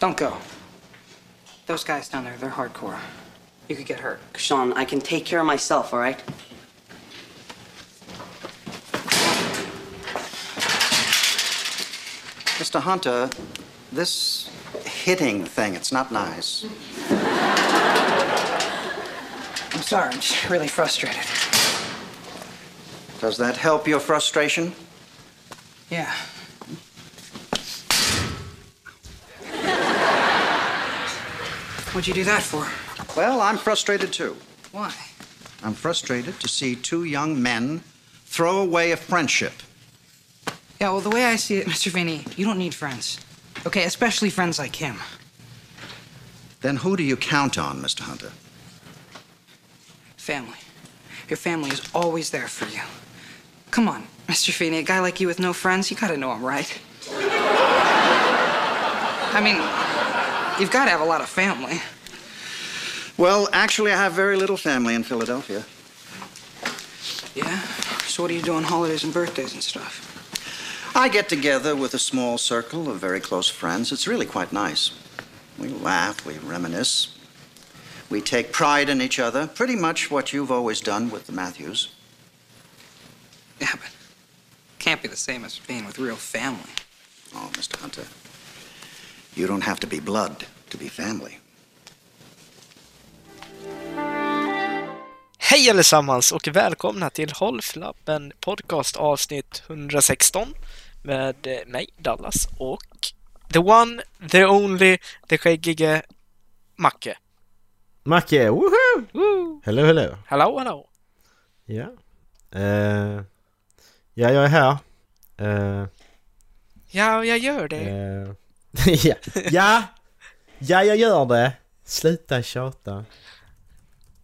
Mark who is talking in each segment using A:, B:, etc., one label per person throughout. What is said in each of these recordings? A: Don't go. Those guys down there, they're hardcore. You could get hurt.
B: Sean, I can take care of myself, all right?
C: Mr. Hunter, this hitting thing, it's not nice.
A: I'm sorry, I'm just really frustrated.
C: Does that help your frustration?
A: Yeah. What'd you do that for?
C: Well, I'm frustrated too.
A: Why?
C: I'm frustrated to see two young men throw away a friendship.
A: Yeah, well, the way I see it, Mr. Vinny, you don't need friends. Okay, especially friends like him.
C: Then who do you count on, Mr. Hunter?
A: Family. Your family is always there for you. Come on, Mr. Feeney, a guy like you with no friends, you gotta know him, right? I mean, you've gotta have a lot of family.
C: Well, actually, I have very little family in Philadelphia.
A: Yeah? So what do you do on holidays and birthdays and stuff?
C: I get together with a small circle of very close friends. It's really quite nice. We laugh, we reminisce, we take pride in each other, pretty much what you've always done with the Matthews.
A: Yeah, but can't be the same as being with real family.
C: Oh, Mr. Hunter, you don't have to be blood to be family.
D: Hej allesammans och välkomna till Håll Flabben Podcast avsnitt 116 med eh, mig, Dallas, och the one, the only, the skäggige Macke.
E: Macke, woho!
D: Woo!
E: Hello, hello!
D: Hallå, hallå!
E: Ja. Eh, ja, jag är här. Eh,
D: Ja, jag gör det.
E: eh, ja. ja! Ja, jag gör det! Sluta tjata.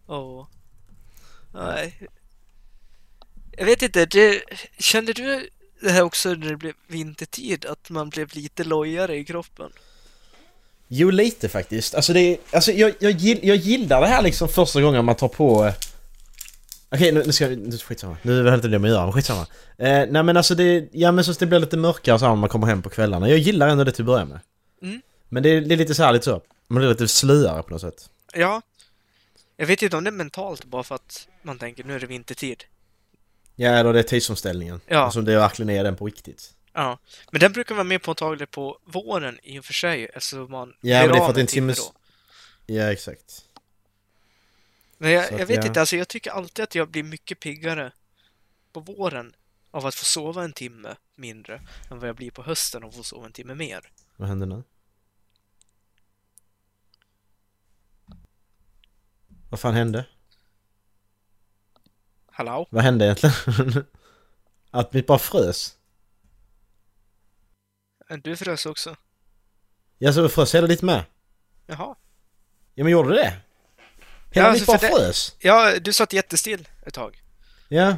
D: Och... Nej. Jag vet inte, det... Kände du det här också när det blev vintertid, att man blev lite lojare i kroppen?
E: Jo, lite faktiskt. Alltså det är, alltså jag, jag, gill, jag gillar det här liksom första gången man tar på... eh, Okej, nu, nu ska jag... Nu, skitsamma. Nu höll inte det med att göra, men skitsamma. Eh, nej men alltså det... Ja men så att det blir lite mörkare så här när man kommer hem på kvällarna. Jag gillar ändå det till att börja med.
D: Mm.
E: Men det, är- det är lite så här, lite så. Man blir lite slöare på något sätt.
D: Ja. Jag vet inte om det är mentalt bara för att man tänker nu är det vintertid.
E: Ja, eller det är tidsomställningen.
D: Ja.
E: Alltså det verkligen är den på riktigt.
D: Ja, men den brukar vara mer påtaglig på våren i och för sig eftersom man
E: Ja, men det är för att det är en
D: en timme
E: timmes...
D: då.
E: Ja, exakt.
D: Men jag,
E: så att
D: jag vet
E: jag-
D: inte, alltså jag tycker alltid att jag blir mycket piggare på våren av att få sova en timme mindre än vad jag blir på hösten och få sova en timme mer.
E: Vad händer nu? Vad fan hände?
D: Hallå?
E: Vad hände egentligen? Att vi bara frös?
D: Du frös också?
E: Jag så frös hela ditt med?
D: Jaha?
E: Ja men gjorde du det? Hela
D: Ja,
E: mitt
D: alltså,
E: bara
D: för det-
E: frös?
D: Ja, du satt jättestill ett tag.
E: Ja.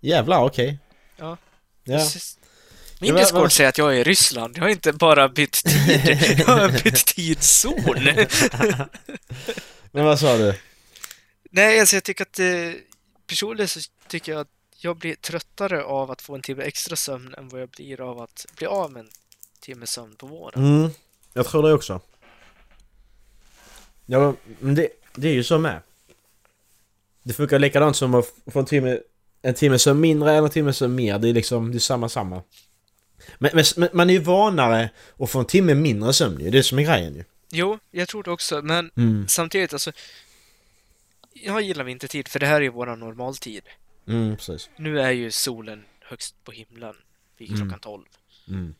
E: Jävlar, okej.
D: Ja.
E: Ja.
D: Precis.
E: Ja,
D: Min
E: men-
D: Discord
E: men-
D: säger att jag är i Ryssland. Jag har inte bara bytt tid, jag har bytt tidszon.
E: Men vad sa du?
D: Nej, alltså jag tycker att eh, personligen så tycker jag att jag blir tröttare av att få en timme extra sömn än vad jag blir av att bli av med en timme sömn på våren.
E: Mm, jag tror det också. Ja, men det, det är ju så med. Det funkar likadant som att f- få en timme, en timme sömn mindre eller en timme sömn mer. Det är liksom, det är samma samma. Men, men, men man är ju vanare att få en timme mindre sömn ju. Det är det som är grejen ju.
D: Jo, jag tror det också, men
E: Mm.
D: samtidigt alltså. Jag gillar vintertid, för det här är ju våran normaltid.
E: Mm, precis.
D: Nu är ju solen högst på himlen vid
E: Mm.
D: klockan 12.
E: Mm.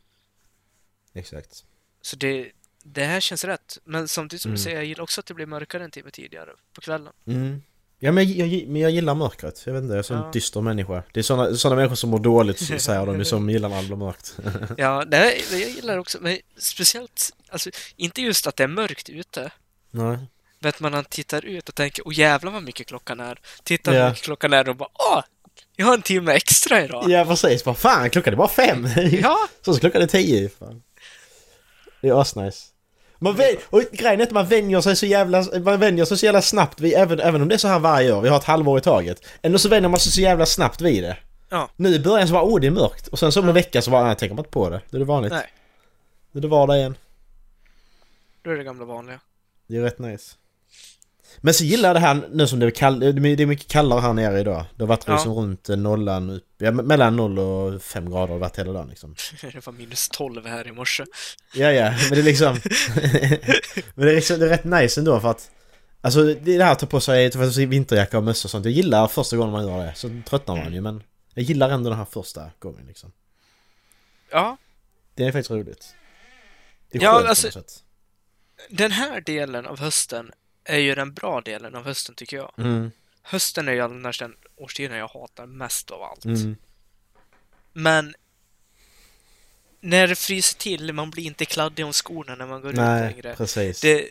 E: Exakt.
D: Så det, det här känns rätt. Men samtidigt som du
E: Mm.
D: säger, jag gillar också att det blir mörkare en timme tidigare på kvällen.
E: Mm. Ja men jag, jag, men jag gillar mörkret. Jag vet inte, jag är en sån
D: Ja.
E: dyster människa. Det är såna, såna människor som mår dåligt så- säger de ju som gillar när det blir mörkt.
D: Ja, nej, men jag gillar också, men speciellt, alltså inte just att det är mörkt ute,
E: Nej.
D: men att man tittar ut och tänker åh jävlar vad mycket klockan är. Tittar hur
E: Ja.
D: mycket klockan är och bara åh, jag har en timme extra idag.
E: Ja precis, bara fan klockan är bara fem!
D: Ja.
E: Så, så klockan är tio, fan. Det är asnice. Man vän, och grejen är att man vänjer sig så jävla, man vänjer sig så jävla snabbt vid, även, även om det är så här varje år, vi har ett halvår i taget. Ändå så vänjer man sig så jävla snabbt vid det.
D: Ja.
E: Nu i början så bara åh det är mörkt, och sen så om en vecka så bara nej tänker man inte på det. Då är det vanligt.
D: Nej.
E: Då är det vardag igen.
D: Då är det gamla vanliga.
E: Det är rätt nice. Men så gillar jag det här nu som det är, kall, det är det är mycket kallare här nere idag. Det har varit
D: Ja.
E: liksom runt nollan, upp- ja, me- mellan noll och fem grader har det varit hela dagen liksom.
D: det var minus 12 här i morse.
E: Ja, ja, men det är liksom... men det är, liksom, det är rätt nice ändå för att... Alltså det är det här att ta på sig, ta på sig vinterjacka och mössa och sånt. Jag gillar första gången man gör det, så tröttnar
D: Mm.
E: man ju men... Jag gillar ändå den här första gången liksom.
D: Ja,
E: Det är faktiskt roligt. Det är
D: Ja,
E: skönt på
D: alltså-
E: något sätt.
D: den här delen av hösten är ju den bra delen av hösten tycker jag.
E: Mm,
D: Hösten är ju annars den årstiden jag hatar mest av allt.
E: mm.
D: Men när det fryser till, man blir inte kladdig om skorna när man går ut
E: Nej,
D: längre.
E: precis.
D: Det,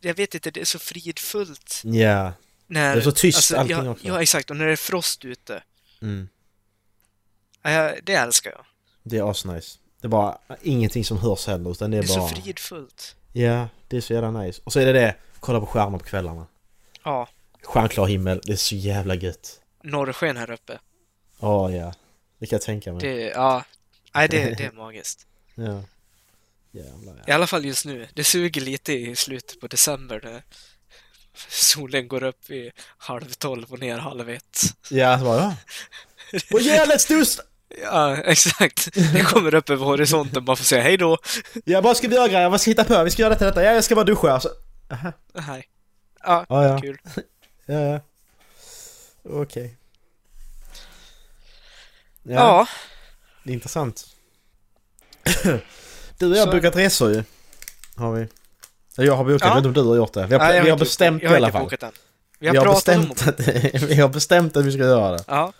D: jag vet inte, det är så fridfullt
E: Ja.
D: när... alltså,
E: Det är så tyst allting
D: ja,
E: också.
D: Ja, exakt. Och när det är frost ute.
E: Mm.
D: Ja, jag- det älskar jag.
E: Det är asnice. Det är bara ingenting som hörs heller utan det
D: Det
E: är,
D: är,
E: bara...
D: så fridfullt.
E: Ja, det är så jävla nice. Och så är det det, kolla på skärmar på kvällarna.
D: Ja,
E: Stjärnklar himmel, det är så jävla gött.
D: norrsken här
E: Mm.
D: uppe.
E: Ja, ja. Det kan jag tänka mig.
D: Det, ja. Nej, det, det är magiskt.
E: Ja. Jävlar
D: I alla fall just nu. Det suger lite i slutet på december när solen går upp i halv tolv och ner halv ett.
E: ja. så bara va? Åh yeah, let's do st-
D: Ja, exakt. Det kommer upp över horisonten bara för att säga hej då.
E: Ja, vad ska vi göra grabbar? Vad ska vi hitta på? Vi ska göra detta, detta. Ja, jag ska bara duscha alltså. Aha.
D: Nej. Ja,
E: Ja, ja.
D: kul.
E: Ja, ja. Okej. Ja,
D: Ja,
E: det är intressant. du och jag
D: Så-
E: har bokat resor ju. Har vi. Ja, Jag har bokat,
D: Ja.
E: jag vet inte om du har gjort det. Vi har,
D: Nej, jag
E: vi har
D: inte-
E: bestämt
D: jag har
E: i alla
D: inte
E: fall.
D: bokat den. Vi
E: Vi
D: har,
E: har,
D: pratat om
E: bestämt
D: det.
E: att, vi har bestämt att vi ska göra det.
D: Ja,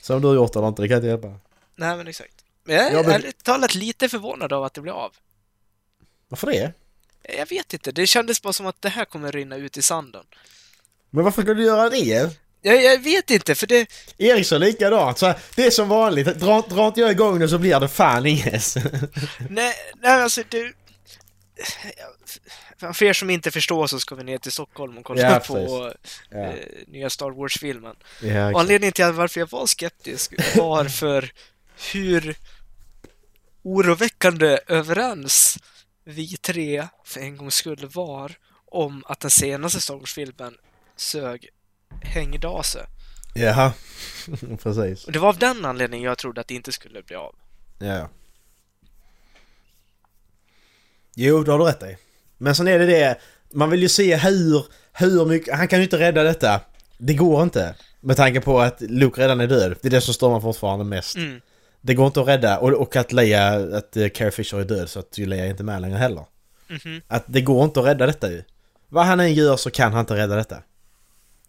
E: Så om du har gjort det eller inte, det kan jag inte hjälpa.
D: nej men exakt. Men jag är
E: Ja, men-
D: ärligt talat lite förvånad av att det blir av.
E: Varför det?
D: Jag vet inte, det kändes bara som att det här kommer rinna ut i sanden.
E: Men varför skulle du göra det?
D: Jag, jag vet inte, för det...
E: Eriksson likadant, så här, det är som vanligt. Dra, dra inte jag igång nu så blir det fan inget.
D: Nej, nej alltså du... För er som inte förstår så ska vi ner till Stockholm och kolla
E: Ja,
D: på
E: ja,
D: eh, nya Star Wars-filmen.
E: ja,
D: Och
E: exakt.
D: anledningen till varför jag var skeptisk var för hur oroväckande överens vi tre för en gångs skull var om att den senaste Star Wars-filmen sög hängde av sig.
E: Jaha, precis.
D: Och det var av den anledningen jag trodde att det inte skulle bli av.
E: Ja. Jo, det har du rätt i. Men sen är det det, man vill ju se hur, hur mycket, han kan ju inte rädda detta. Det går inte. Med tanke på att Luke redan är död. Det är det som stör mig fortfarande mest.
D: Mm.
E: Det går inte att rädda, och, och att Leia, att eh, Carrie Fisher är död så att ju Leia är inte med längre heller.
D: Mhm.
E: Att det går inte att rädda detta ju. Vad han än gör så kan han inte rädda detta.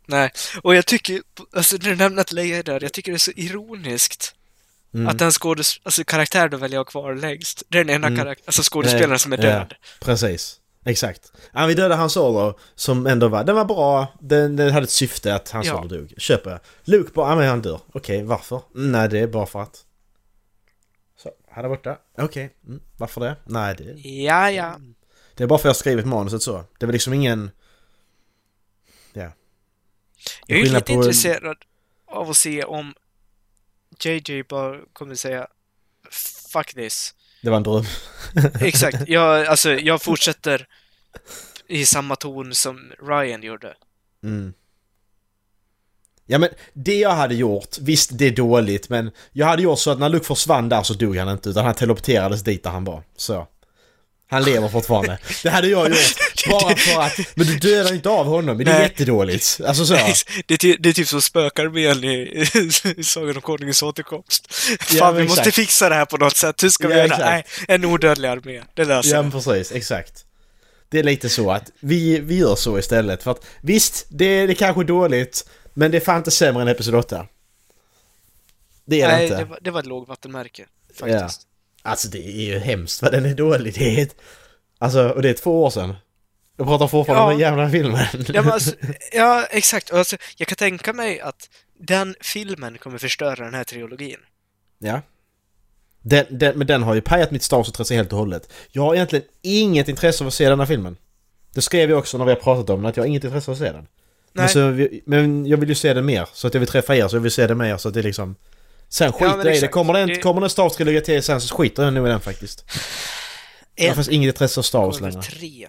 D: Nej, och jag tycker, alltså när du nämner att Leia är där, jag tycker det är så ironiskt
E: Mm.
D: att den skådes, alltså karaktären du väljer att ha kvar längst, det är den ena
E: Mm.
D: karaktär, alltså skådespelaren som är död.
E: Ja, precis. Exakt. Ja, vi dödade hans Solo som ändå var, den var bra, den, den hade ett syfte att hans
D: Ja.
E: Solo dog. Köper jag. Luke bara, ja men han dör. Okej, varför? Mm, Nej, det är bara för att. Så, han är borta. Okej, mm, varför det? Nej, det,
D: Ja, ja.
E: det är bara för att jag skrivit manuset så. Det var liksom ingen... Ja.
D: Jag är ju
E: skillnad
D: lite
E: på-
D: intresserad av att se om JJ bara kommer säga Fuck this.
E: Det var en dröm.
D: Exakt. Jag, alltså, jag fortsätter i samma ton som Ryan gjorde.
E: Mm. Ja men det jag hade gjort, visst det är dåligt men jag hade gjort så att när Luke försvann där så dog han inte utan han teleporterades dit där han var. Så. Han lever fortfarande. Det hade jag gjort bara för att... Men du dödar ju inte av honom, men det är
D: Nej.
E: jättedåligt. Alltså så.
D: Det, är ty- det är typ som spökarmen i, i Sagan om Konungens återkomst. Fan,
E: Ja, men
D: vi måste
E: exakt.
D: fixa det här på något sätt. Hur ska vi
E: Ja,
D: göra?
E: exakt.
D: Nej, en odödlig armé. Det löser
E: Ja
D: jag.
E: men precis, exakt. Det är lite så att vi, vi gör så istället för att visst, det, det kanske är dåligt men det är fan inte sämre än Episod 8. Det är det
D: Nej,
E: inte.
D: det var, det var ett lågvattenmärke. Faktiskt.
E: Alltså det är ju hemskt vad den är dålig. Det är ett... Alltså, och det är två år sedan. Jag pratar fortfarande
D: Ja.
E: om den jävla filmen.
D: Ja, men alltså, ja exakt. Och Alltså, jag kan tänka mig att den filmen kommer förstöra den här trilogin.
E: Ja. Den, den, men den har ju pajat mitt Star Wars-intresse helt och hållet. Jag har egentligen inget intresse av att se den här filmen. Det skrev jag också när vi har pratat om den, att jag har inget intresse av att se den. Men,
D: Nej.
E: så, vi- men jag vill ju se den mer, så att jag vill träffa er, så jag vill se den mer, så att det är liksom... Sen skiter
D: men
E: jag i det.
D: exakt.
E: Kommer den,
D: Det-
E: kommer den Star Wars-trilogi till sen så skiter jag nog i den faktiskt. Det
D: En.
E: finns inget intresse av Star Wars
D: Kommer väl
E: längre.
D: tre.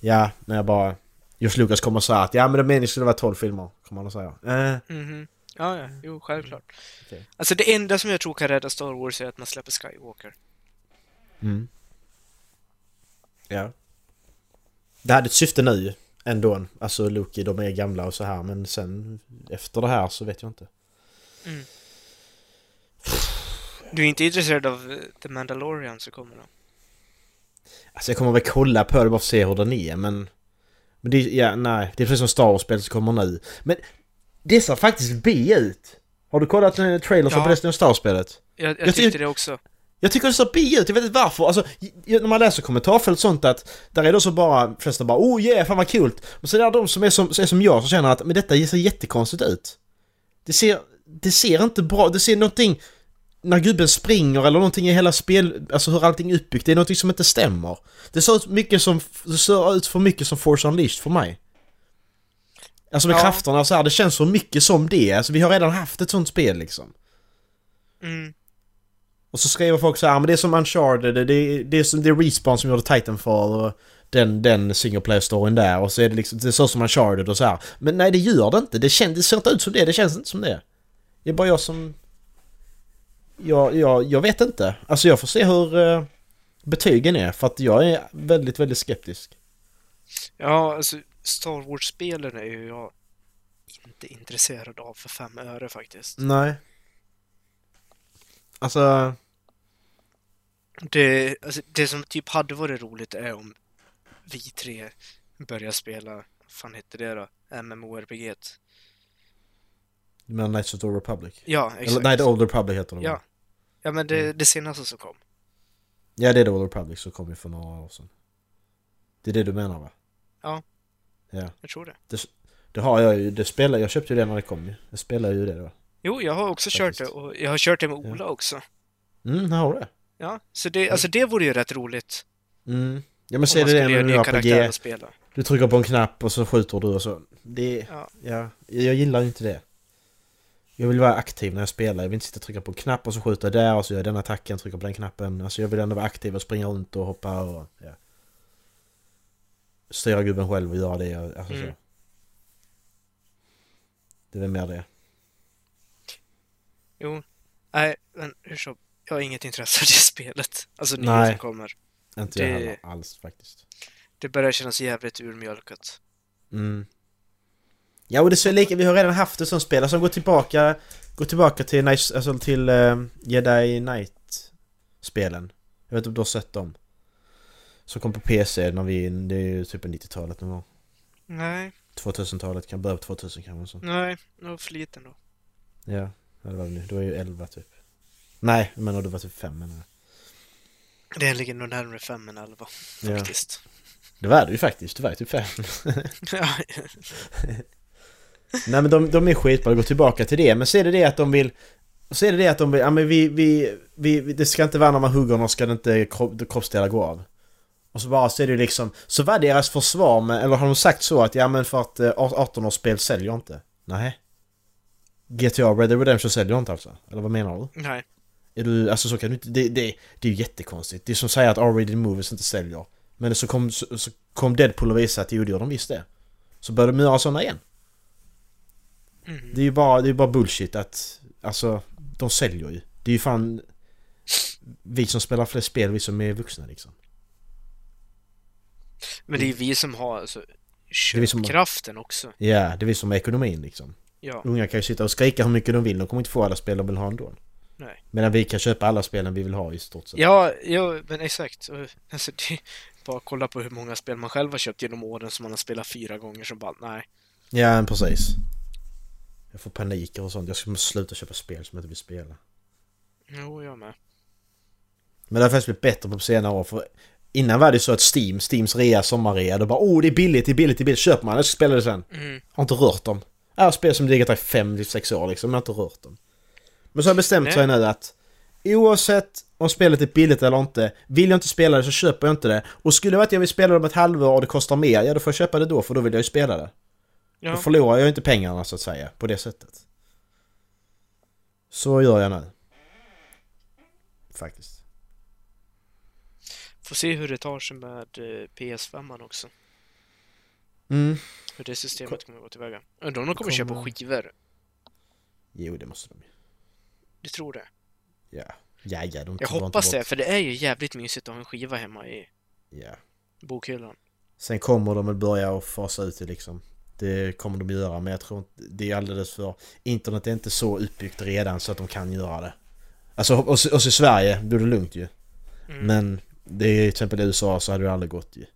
E: Ja, när jag bara... George Lucas kommer och säger att ja men det meningen skulle vara 12 filmer, kommer han att säga. Eh,
D: Mhm. Ja, ja, jo, självklart.
E: Okej.
D: Alltså det enda som jag tror kan rädda Star Wars är att man släpper Skywalker.
E: ja. Det hade ett syfte nu, ändå. Alltså Loki, de är gamla och så här men sen efter det här så vet jag inte.
D: Du är inte intresserad av eh, The Mandalorian så kommer då?
E: Alltså jag kommer väl kolla på det bara för att se hur den är men... Men det, är- ja, nej, det är precis som Star Wars-spel som kommer nu. Men det ser faktiskt B ut! Har du kollat eh, trailers
D: Ja.
E: på resten av Star Wars-spelet?
D: Jag, jag
E: Jag
D: tyckte
E: tyck-
D: det också.
E: Jag tycker det ser bi ut, jag vet inte varför. Alltså, j- j- när man läser kommentarfält och sånt att där är det så bara, flesta bara oh yeah, fan vad kul. Och sen är det de som är som, som är som jag som känner att men detta ser jättekonstigt ut. Det ser, det ser inte bra, det ser någonting när gubben springer eller någonting i hela spel, alltså hur allting är uppbyggt, det är någonting som inte stämmer. Det ser ut mycket som, det ser ut för mycket som Force Unleashed för mig. Alltså med
D: Ja.
E: krafterna och så här, det känns så mycket som det. Alltså vi har redan haft ett sånt spel liksom.
D: Mm.
E: Och så skriver folk så här, "Ah, men det är som Uncharted, det, det, det, är, som, det är Respawn som gjorde Titanfall och den, den single player storyn där och så är det liksom, det ser ut som Uncharted och så här. Men nej det gör det inte, det, kän, det ser inte ut som det, det känns inte som det. Det är bara jag som... Jag, jag, jag vet inte. Alltså jag får se hur eh, betygen är för att jag är väldigt, väldigt skeptisk.
D: Ja, alltså Star Wars-spelen är ju jag inte intresserad av för fem öre faktiskt.
E: Nej. Alltså...
D: Det, alltså, det som typ hade varit roligt är om vi tre börjar spela, vad fan hette det då? MMORPG. -t.
E: Du menar Knights of the Old Republic?
D: Ja, exakt.
E: Eller, Mm. nej, The Old Republic heter det va?
D: Ja. Ja, men det, det senaste som kom.
E: Ja det är The Old Republic som kom ju för några år sedan. Det är det du menar va?
D: Ja.
E: Ja.
D: Jag tror det.
E: Det har jag ju, det spelar, jag köpte ju det när det kom ju. Jag spelar ju det då.
D: Jo, jag har också kört det
E: Faktiskt.
D: och jag har kört det med Ola också.
E: Mm, jag har det.
D: Ja, så det, alltså det vore ju rätt roligt
E: Mm. Ja men
D: om
E: se
D: man
E: Mm. det
D: skulle göra
E: är
D: en ny
E: med
D: karaktär
E: RPG.
D: att spela.
E: Du trycker på en knapp och så skjuter du och så. Det,
D: Ja.
E: ja. ja. Jag gillar ju inte det. Jag vill vara aktiv när jag spelar. Jag vill inte sitta och trycka på en knapp och så skjuta där och så gör jag den attacken, trycker på den knappen. Alltså jag vill ändå vara aktiv och springa runt och hoppa och ja. Styra gubben själv och göra det jag, alltså
D: Mm.
E: så. Det är väl mer det.
D: Jo, nej, men hur så? Jag har inget intresse av det spelet. Alltså det
E: Nej.
D: som kommer.
E: Inte
D: Det-
E: jag heller alls faktiskt.
D: Det börjar kännas jävligt urmjölkat.
E: Mm. Ja och det är så lika, vi har redan haft ett sånt spel, alltså gå tillbaka, gå tillbaka till, Knights- alltså, till eh, Jedi Knight-spelen. Jag vet inte om du har sett dem? Som kom på PC när vi, det är ju typ på 90-talet någon gång.
D: Nej,
E: 2000-talet, kan börja på 2000 kanske. och sånt.
D: nej, det var för liten då.
E: Ja, ja, det var det nu. Du var ju 11 typ. Nej, jag menar du var typ 5 menar jag.
D: Det ligger nog närmare fem än elva,
E: Ja.
D: faktiskt.
E: Det var du ju faktiskt, du var ju typ 5.
D: Ja.
E: Nej men de, de är skitbra, gå tillbaka till det. Men så är det det att de vill... Så är det det att de vill, ja men vi, vi, vi, vi det ska inte vara när man hugger någon ska det inte kropp, det kroppsdelar gå av. Och så bara så är det ju liksom, så var deras försvar med, eller har de sagt så att ja men för att eh, 18-årsspel säljer inte? Nej. GTA Red Dead Redemption säljer inte alltså? Eller vad menar du?
D: nej,
E: Är du, alltså så kan du inte, det, det, det är ju jättekonstigt. Det är som att säga att R-rated movies inte säljer. Men så kom, så, så kom Deadpool och visade att jo det gör de visst det. Så började de göra sådana igen. Det är ju bara, det är bara bullshit att, alltså de säljer ju. Det är ju fan vi som spelar fler spel, vi som är vuxna liksom.
D: men det är ju vi som har alltså,
E: Mm. är vi som har-
D: köpkraften också.
E: Ja, det är vi som har ekonomin liksom.
D: Ja,
E: Unga kan ju sitta och skrika hur mycket de vill, de kommer inte få alla spel de vill ha ändå.
D: nej.
E: Medan vi kan köpa alla spelen vi vill ha i stort sett.
D: Ja, ja, men exakt. Och, Alltså, det, bara kolla på hur många spel man själv har köpt genom åren som man har spelat fyra gånger som bara, nej.
E: Ja, men precis. Jag får panik och sånt. Jag ska sluta köpa spel som jag inte vill spela.
D: Jo, jag med.
E: Men det har faktiskt blivit bättre på senare år. För innan var det så att Steam, Steams rea, sommarrea, då bara åh det är billigt, det är billigt, det är billigt, köper man, jag ska spela det sen. Har inte rört dem. Jag har spel som legat där i fem till sex år liksom, men jag har inte rört dem. Men så har jag bestämt
D: Nej.
E: sig nu att oavsett om spelet är billigt eller inte, vill jag inte spela det så köper jag inte det. Och skulle det vara att jag vill spela det om ett halvår och det kostar mer, ja då får jag köpa det då för då vill jag ju spela det. Då
D: Ja,
E: förlorar jag inte pengarna så att säga på det sättet. Så gör jag nu. Faktiskt.
D: Får se hur det tar sig med eh, PS5 också.
E: Mm.
D: Hur det systemet kommer att gå tillväga. Undrar om de kommer köpa
E: Kommer-
D: skivor?
E: Jo, det måste de ju.
D: Du tror det?
E: Ja. Ja, ja, de
D: Jag
E: tar bara
D: hoppas
E: inte
D: det,
E: bort-
D: för det är ju jävligt mysigt att ha en skiva hemma i
E: Ja.
D: bokhyllan.
E: Sen kommer de att börja att fasa ut det liksom. Det kommer de göra, men jag tror inte... Det är alldeles för... Internet är inte så uppbyggt redan så att de kan göra det. Alltså, och så- och så i Sverige blir det lugnt ju. Men det är till exempel i USA så hade det aldrig gått ju.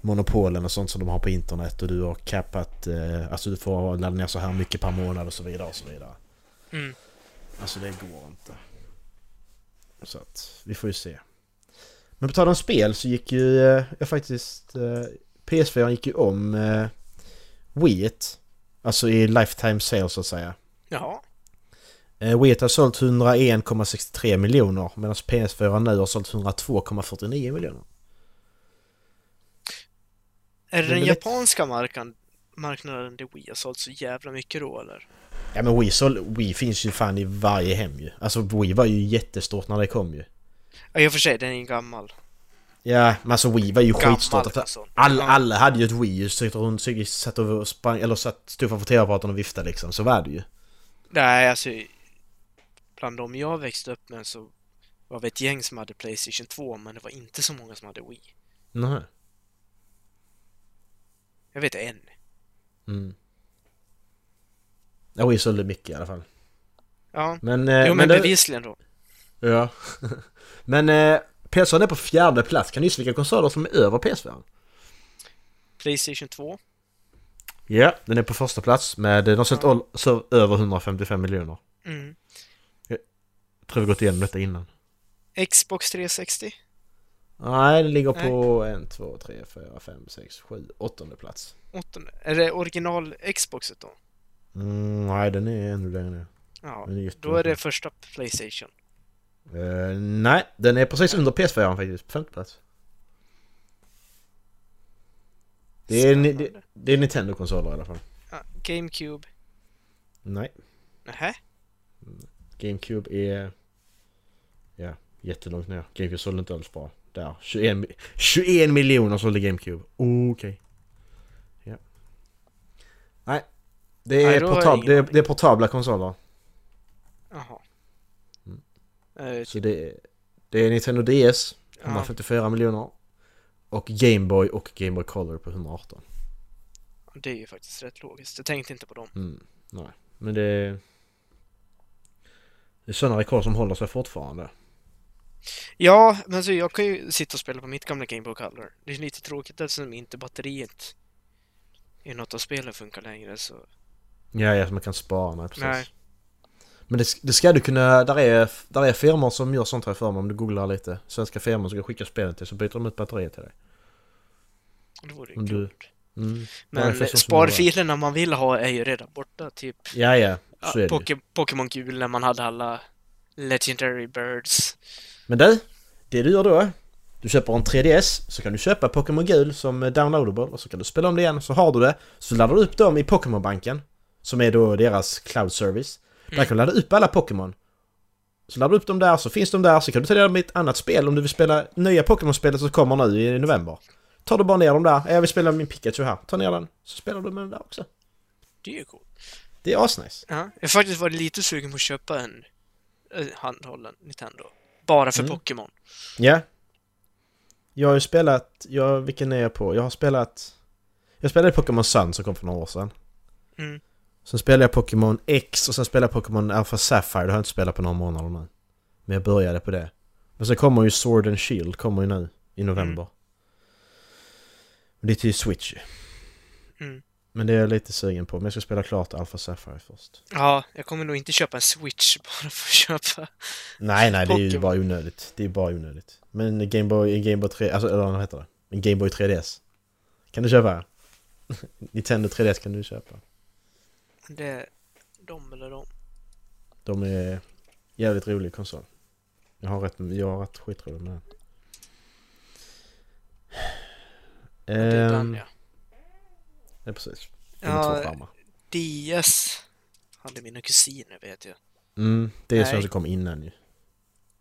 E: Monopolen och sånt som de har på internet och du har cappat... Eh, alltså du får ladda ner så här mycket per månad och så vidare och så vidare.
D: Mm.
E: Alltså det går inte. Så att, vi får ju se. Men på tal om spel så gick ju eh, jag faktiskt... Eh, PS4 gick ju om eh, Wii Alltså i lifetime sales så att säga.
D: Jaha.
E: Eh, Wii har sålt 101,63 miljoner medan PS4 nu har sålt 102,49 miljoner.
D: Är det den
E: Men det vet-
D: japanska markan, marknaden där Wii har sålt så jävla mycket då eller?
E: Ja men Wii, sål, Wii finns ju fan i varje hem ju. Alltså Wii var ju jättestort när det kom ju.
D: Ja, i och för sig, den är en gammal.
E: Ja, men alltså Wii var ju
D: Gammal
E: skitstort. Alltså,
D: konsol.
E: Alla,
D: Ja.
E: alla hade ju ett Wii ju, så runt, så satt och sprang, eller satt, stod framför TV-apparaten och viftade liksom. Så var det ju.
D: Nej, alltså bland de jag växte upp med så var vi ett gäng som hade Playstation 2 men det var inte så många som hade Wii.
E: Nej.
D: Jag vet en.
E: Mm. Ja, Wii sålde mycket i alla fall.
D: Ja.
E: Men... Eh,
D: Jo men
E: det-
D: bevisligen då.
E: Ja. men eh, PS4 är på fjärde plats. Kan du gissa vilka konsoler som är över PS4?
D: Playstation 2.
E: Ja. Den är på första plats med... De har sålt all- så över 155 miljoner.
D: Mm.
E: Tror vi gått igenom detta innan.
D: Xbox 360.
E: Nej, den ligger på en, två, tre, fyra, fem, sex, sju, åttonde plats.
D: Åttonde. Är det original Xboxet då?
E: Mm, nej, den är ännu längre ner.
D: Ja.
E: Den är
D: Då är
E: jättelång.
D: det första Playstation.
E: Eh, nej, den är precis under PS4 faktiskt, på femte plats. Det är, ni- det,
D: Spännande.
E: det är Nintendo-konsoler i alla fall.
D: Ja, GameCube.
E: Nej,
D: Nähä?
E: GameCube är... Ja, jättelångt ner. GameCube sålde inte alls bra. Där, 21, mi- 21 miljoner sålde GameCube. Okej. Ja. Nej, det
D: Nej,
E: är,
D: då har jag
E: portab-
D: ingen
E: det, är,
D: aning.
E: det är portabla konsoler.
D: Jaha. Eh,
E: Så det är, det är Nintendo DS,
D: Ja.
E: 154 miljoner. Och Game Boy och Game Boy Color på 118.
D: Det är ju faktiskt rätt logiskt. Jag tänkte inte på dem.
E: Mm, nej. Men det är... Det är sådana rekord som håller sig fortfarande.
D: Ja, men så jag kan ju sitta och spela på mitt gamla Game Boy Color. Det är lite tråkigt eftersom inte batteriet i något av spelen funkar längre så...
E: Ja, ja, så man kan spara. Nej, precis.
D: Nej.
E: Men det, det ska du kunna... Där är, där är firmor som gör sånt här för mig om du googlar lite. Svenska firmor som kan skicka spelen till så byter de ut batteriet till dig.
D: Det vore ju
E: Men du-
D: kul.
E: Mm. Ja, det
D: Men
E: finns de som
D: sparfilerna man vill ha är ju redan borta. Typ
E: gör det. Ja, ja.
D: ja,
E: Så är det ju.
D: Poké- Pokémon Gul när man hade alla Legendary Birds.
E: Men du, det du gör då. Du köper en 3DS, så kan du köpa Pokémon Gul som är downloadable och så kan du spela om det igen, så har du det. Så laddar du upp dem i Pokémonbanken, som är då deras cloud service. Där kan du ladda upp alla Pokémon. Så laddar du upp dem där, så finns de där, så kan du ta ner dem i ett annat spel om du vill spela nya Pokémon-spelet som kommer nu i november. Tar du bara ner dem där, jag vill spela min Pikachu här, ta ner den, så spelar du med den där också.
D: Det är ju coolt.
E: Det är asnice.
D: Ja. Jag har faktiskt varit lite sugen på att köpa en eh, handhållen Nintendo. Bara
E: Mm.
D: för Pokémon.
E: Ja. Jag har ju spelat, jag, vilken är jag på? Jag har spelat... Jag spelade Pokémon Sun som kom för några år sedan.
D: Mm.
E: Sen spelade jag Pokémon X och sen spelade jag Pokémon Alpha Sapphire. Det har jag inte spelat på några månader nu. Men jag började på det. Men sen kommer ju Sword and Shield, kommer ju nu i november. Men Det är till Switch ju.
D: Mm.
E: Men det är jag lite sugen på. Men jag ska spela klart Alpha Sapphire först.
D: Ja, jag kommer nog inte köpa en Switch bara för att köpa
E: Nej, nej, det är ju
D: Pokémon.
E: bara onödigt. Det är bara onödigt. Men Gameboy, Gameboy 3, alltså eller vad heter det? En Gameboy 3DS. Kan du köpa? Nintendo 3DS kan du köpa.
D: Det är de eller de.
E: De är jävligt rolig konsol. Jag har rätt, jag har rätt skitroligt med den.
D: Det är
E: Ehm,
D: den ja.
E: ja, precis. De är två
D: ja eh,
E: skärmar.
D: DS hade mina kusiner vet jag.
E: Mm, det är
D: nej.
E: sånt som kom innan ju.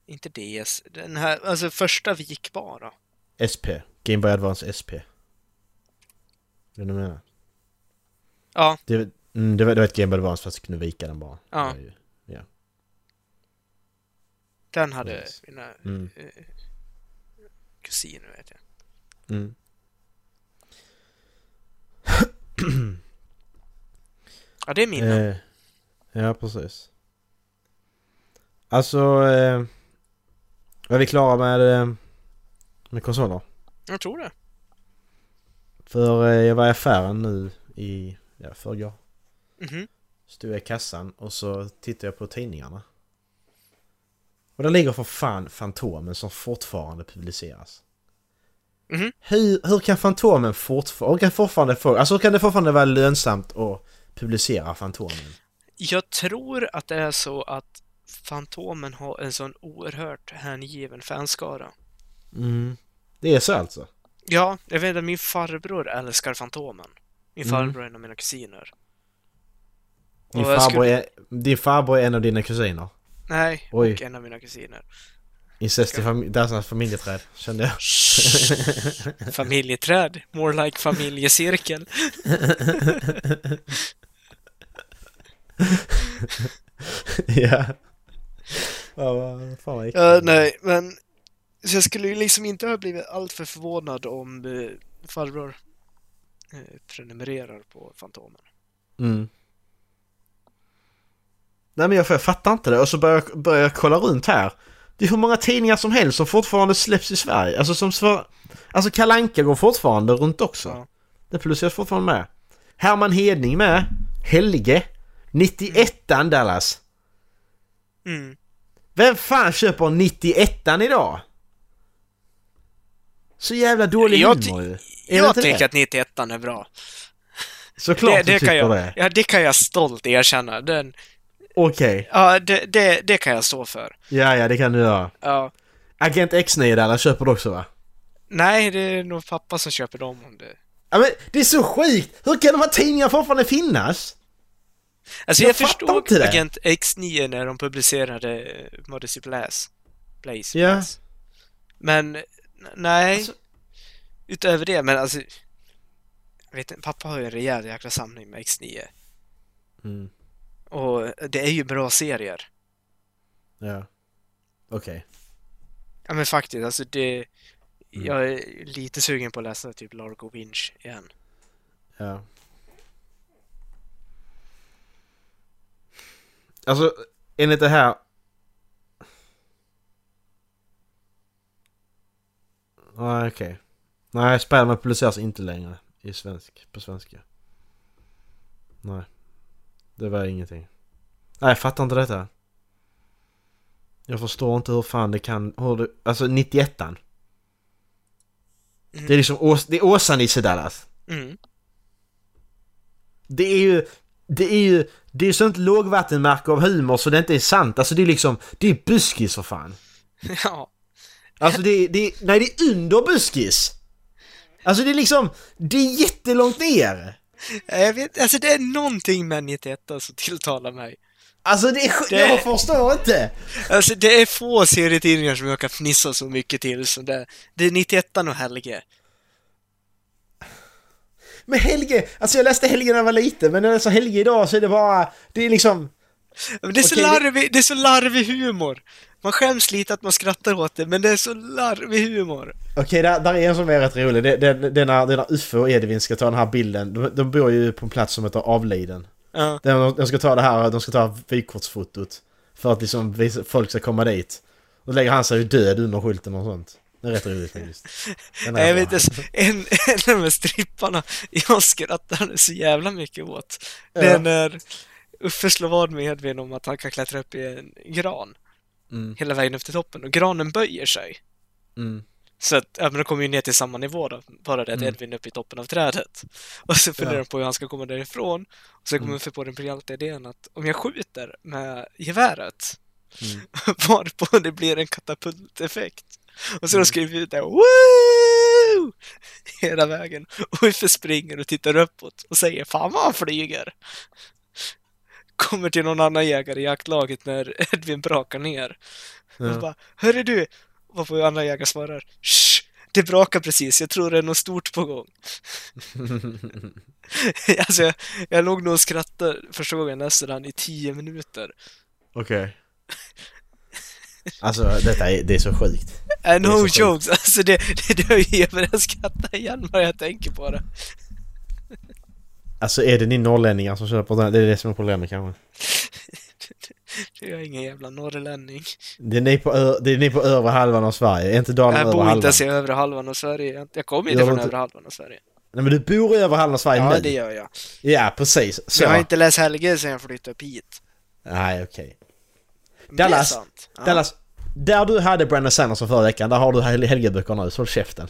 D: Inte DS. Den här, alltså första vi gick bara.
E: SP. Game Boy Advance SP. Vad du menar?
D: Ja,
E: Det, mm, det, var, det var ett Game Boy Advance fast du kunde vika den bara.
D: Ja.
E: Det var ju- ja.
D: den hade
E: Precis.
D: mina
E: Mm.
D: eh, kusiner, vet jag.
E: Mm.
D: Ja, det är mina.
E: Eh, ja, precis. Alltså... Eh, var vi klara med, eh, med konsoler?
D: Jag tror det.
E: För eh, jag var i affären nu i ja, förrgår.
D: Mhm.
E: Stod jag i kassan och så tittade jag på tidningarna. Och där ligger för fan Fantomen som fortfarande publiceras.
D: Mhm.
E: Hur, hur kan Fantomen fortfarande... Hur kan, fortfarande få, alltså, hur kan det fortfarande vara lönsamt att publicera Fantomen?
D: Jag tror att det är så att Fantomen har en sån oerhört hängiven fanskara.
E: Mm. Det är så alltså?
D: Ja, jag vet att min farbror älskar Fantomen. Min
E: Mm.
D: farbror är en av mina kusiner.
E: Din
D: Och jag
E: farbror,
D: skulle-
E: är, din farbror är en av dina kusiner?
D: Nej,
E: Oj.
D: och en av mina kusiner.
E: Incest i fami- dansarnas familjeträd, kände jag.
D: Familjeträd, more like familjecirkel.
E: ja. Ja, vad fan vad äckligt.
D: Ja, Eh, nej, men... Så jag skulle ju liksom inte ha blivit alltför förvånad om eh, farbror eh, prenumererar på Fantomen.
E: Mm. Nej men jag, jag fattar inte det och så börjar jag, börjar jag kolla runt här. Det är hur många tidningar som helst som fortfarande släpps i Sverige. Alltså som svar... Alltså Kalle Anka går fortfarande runt också.
D: Ja.
E: Det publiceras fortfarande med. Herman Hedning med. Helge. 91an Dallas.
D: Mm.
E: Vem fan köper 91an idag? Så jävla dålig
D: Jag ty-
E: humor ju. Är det
D: Jag
E: inte det?
D: tycker att 91 är bra.
E: Såklart
D: det,
E: du
D: det
E: tycker
D: kan jag,
E: det.
D: Ja, det kan jag stolt erkänna. Den,
E: Okej.
D: ja, det, det, det kan jag stå för.
E: Ja, ja, det kan du göra.
D: Ja.
E: Agent X9 där, där köper du också va?
D: Nej, det är nog pappa som köper dem om det...
E: Ja, men det är så sjukt! Hur kan de här tidningarna fortfarande finnas?
D: Alltså
E: Jag
D: jag,
E: fattar
D: förstod
E: inte det.
D: Agent X9 när de publicerade eh, Modesty Blaze. Blaze.
E: Ja.
D: Blaze. Men, n- nej.
E: Alltså-
D: Utöver det, men alltså... Jag vet inte, pappa har ju en rejäl jäkla samling med X9.
E: Mm,
D: Och det är ju bra serier.
E: ja. Okej.
D: Ja men faktiskt, alltså det...
E: Mm.
D: Jag är lite sugen på att läsa typ Largo Winch igen.
E: Ja. Alltså, enligt det här... Nej, okej. Nej, Spiderman publiceras inte längre i svensk, på svenska. Nej. Det var ingenting. Nej, jag fattar inte detta. Jag förstår inte hur fan det kan... Hur det, alltså 91an. Det är liksom Ås, det är Åsa-Nisse Dallas.
D: Mm.
E: Det är ju... Det är ju... Det är sånt lågvattenmärke av humor så det inte är sant. Alltså det är liksom... Det är buskis för fan.
D: Ja.
E: Alltså det är... Det är nej, det är under buskis! Alltså det är liksom... Det är jättelångt ner!
D: Jag vet, alltså det är någonting med 91 som tilltalar mig.
E: Alltså det är... sj-
D: Det-
E: Jag förstår inte!
D: Alltså det är få serietidningar som jag kan fnissa så mycket till som det. Det är 91 och Helge.
E: Men Helge... Alltså jag läste Helge när jag var liten men när jag läser Helge idag så är det bara... Det är liksom...
D: Men det är, så
E: Okej, det-
D: larvig, det är så larvig humor! Man skäms lite att man skrattar åt det, men det är så larvig humor.
E: Okej, där, där är en som är rätt rolig. Det, det, det, är när, det är när Uffe och Edvin ska ta den här bilden. De, de bor ju på en plats som heter Avliden.
D: Ja.
E: De, de ska ta det här, de ska ta vykortsfotot. För att liksom visa, folk ska komma dit. Då lägger han sig ju död under skylten och sånt. Det är rätt roligt faktiskt. Den är
D: Nej, jag
E: bra.
D: vet inte, en, en av de här stripparna jag skrattade så jävla mycket åt. Det
E: Ja.
D: är när Uffe slår vad med Edvin om att han kan klättra upp i en gran.
E: Mm.
D: Hela vägen upp till toppen och granen böjer sig.
E: Mm.
D: Så att, ja, men de kommer ju ner till samma nivå då, bara det att Edvin är uppe i toppen av trädet. Och så funderar de på hur han ska komma därifrån. Och så
E: Mm.
D: kommer Uffe på den briljanta idén att om jag skjuter med geväret,
E: Mm.
D: varpå det blir en katapulteffekt. Och
E: Mm.
D: så de skriver ut det Woo! Hela vägen. Och Uffe springer och tittar uppåt och säger Fan vad han flyger! kommer till någon annan jägare i jaktlaget när Edvin brakar ner. Och bara ”Hörru du!” Varpå andra jägare svarar ”Shh! Det brakar precis, jag tror det är något stort på gång”. alltså, jag, jag låg nog och skrattade första gången nästan han i tio minuter.
E: Okej. Alltså detta är, det är så sjukt.
D: Äh,
E: är så
D: no
E: sjukt.
D: jokes, alltså det, det, det höjer mig, jag skrattar igen bara jag tänker på det.
E: Alltså är det ni norrlänningar som kör på den här? Det är det som är problemet kanske.
D: Jag är ingen jävla norrlänning.
E: Det är ni på, ö- det är ni på övre halvan av Sverige, är inte Dalarna
D: Jag
E: över
D: bor inte
E: halvan?
D: ens i övre halvan av Sverige. Jag- Jag kommer inte från
E: Jag var inte-
D: övre halvan av Sverige.
E: Nej men du bor i övre halvan av Sverige
D: Ja,
E: nu?
D: det gör jag.
E: Ja, precis. Så.
D: Jag har inte läst Helge sedan jag flyttade upp hit.
E: Nej, okej.
D: Men det är
E: Dallas,
D: sant. Ja.
E: Dallas, där du hade Brandon Sanderson förra veckan, där har du Hel- Helgeböcker nu, så håll käften.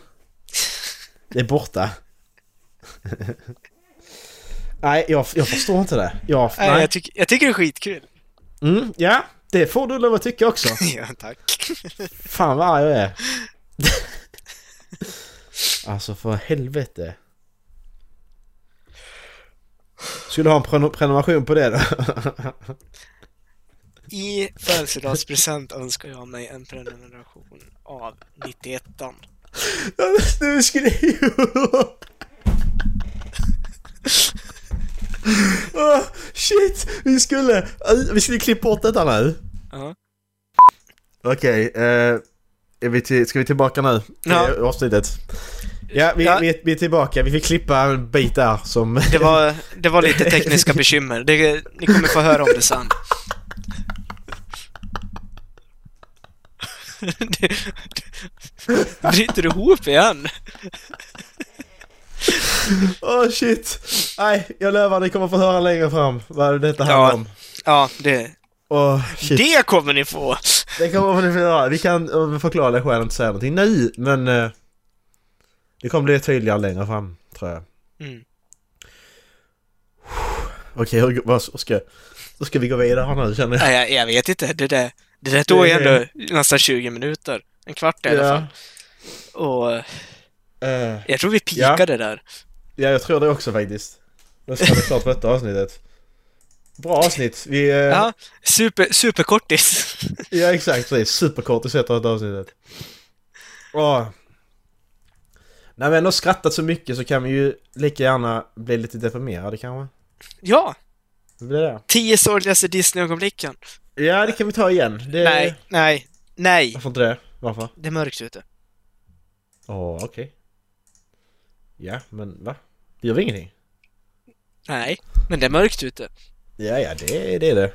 E: Det är borta. nej, jag, jag förstår inte det. Jag, nej.
D: Nej, jag, tyck, jag tycker det är skitkul.
E: mm, ja, det får du lov att tycka också.
D: ja, tack.
E: Fan vad arg jag är. alltså för helvete. Skulle ha en prenu- prenumeration på det då?
D: I födelsedagspresent önskar jag mig en prenumeration av 91
E: nu skulle oh, Shit! Vi skulle... Vi skulle klippa bort detta nu.
D: Ja.
E: Okej, eh, är vi till, ska vi tillbaka nu?
D: Ja.
E: Ja. Avsnittet. Ja, vi,
D: Ja.
E: Vi, vi är tillbaka. Vi fick klippa en bit där som...
D: Det var, det var lite tekniska bekymmer. Det, ni kommer få höra om det sen. Det- det- Bryter du ihop igen?
E: Åh Oh, shit! Nej, jag lovar ni kommer få höra längre fram vad detta handlar om.
D: ja det,
E: Åh shit.
D: det kommer ni få!
E: Det kommer ni få göra. Vi kan eh, förklara det själv och inte säga någonting nu, men... eh, Det kommer bli tydligare längre fram, tror jag.
D: Mm.
E: Okej, hur- vad ska... Då ska vi gå vidare nu känner jag.
D: Nej, jag, jag vet inte. Det där, det där tog ju ändå nästan 20 minuter. En kvart i alla fall. Och
E: Eh,
D: jag tror vi pikade där.
E: ja, jag tror det också faktiskt. Då ska vi klart på detta avsnittet. Bra avsnitt. Vi... eh,
D: Ja, super, superkortis.
E: Ja, exakt. Precis. Superkort att sätta ett avsnittet. Åh. När vi ändå har skrattat så mycket så kan vi ju lika gärna bli lite deprimerade kanske.
D: ja,
E: Det blir det.
D: tio sorgligaste Disney-ögonblicken.
E: Ja, det kan vi ta igen. Det...
D: Nej, nej, nej.
E: Varför inte det? Varför?
D: Det är mörkt ute.
E: Åh, okej. Ja, men va? Det gör vi ingenting?
D: Nej, men det är mörkt ute.
E: Ja, ja, det, det är det.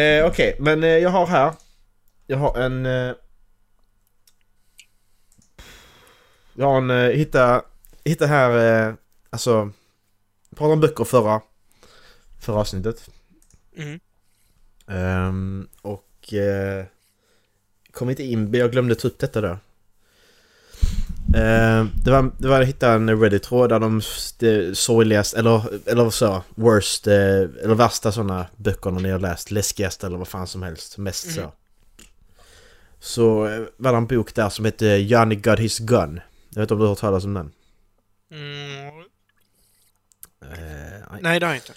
E: Eh, okej, men eh, jag har här. Jag har en... Eh, jag har en... Eh, hitta, hitta här... Eh, alltså... Prata om böcker förra... Förra avsnittet.
D: Mm.
E: Ehm, och... Eh, kom inte in, men jag glömde ta upp detta då. Eh, det, var, det var att hitta en Reddit-tråd där de s- det sorgligaste, eller, eller så, worst, eh, eller värsta sådana böckerna ni har läst, läskigaste eller vad fan som helst, mest så. Så eh, var det en bok där som hette Johnny Got His Gun. Jag vet inte om du har hört talas om den?
D: Mm,
E: Eh, nej.
D: nej, det har jag inte.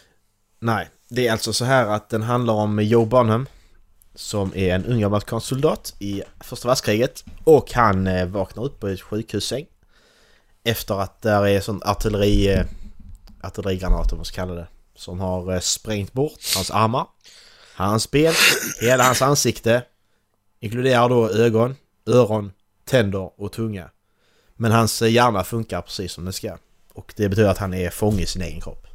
E: Nej, det är alltså så här att den handlar om Joe Bonham som är en ung amerikansk soldat i första världskriget och han eh, vaknar upp på ett sjukhussäng efter att där är sån artilleri eh, artillerigranat om man ska kalla det som har eh, sprängt bort hans armar, hans ben, hela hans ansikte inkluderar då ögon, öron, tänder och tunga. Men hans eh, hjärna funkar precis som den ska och det betyder att han är fånge i sin egen kropp.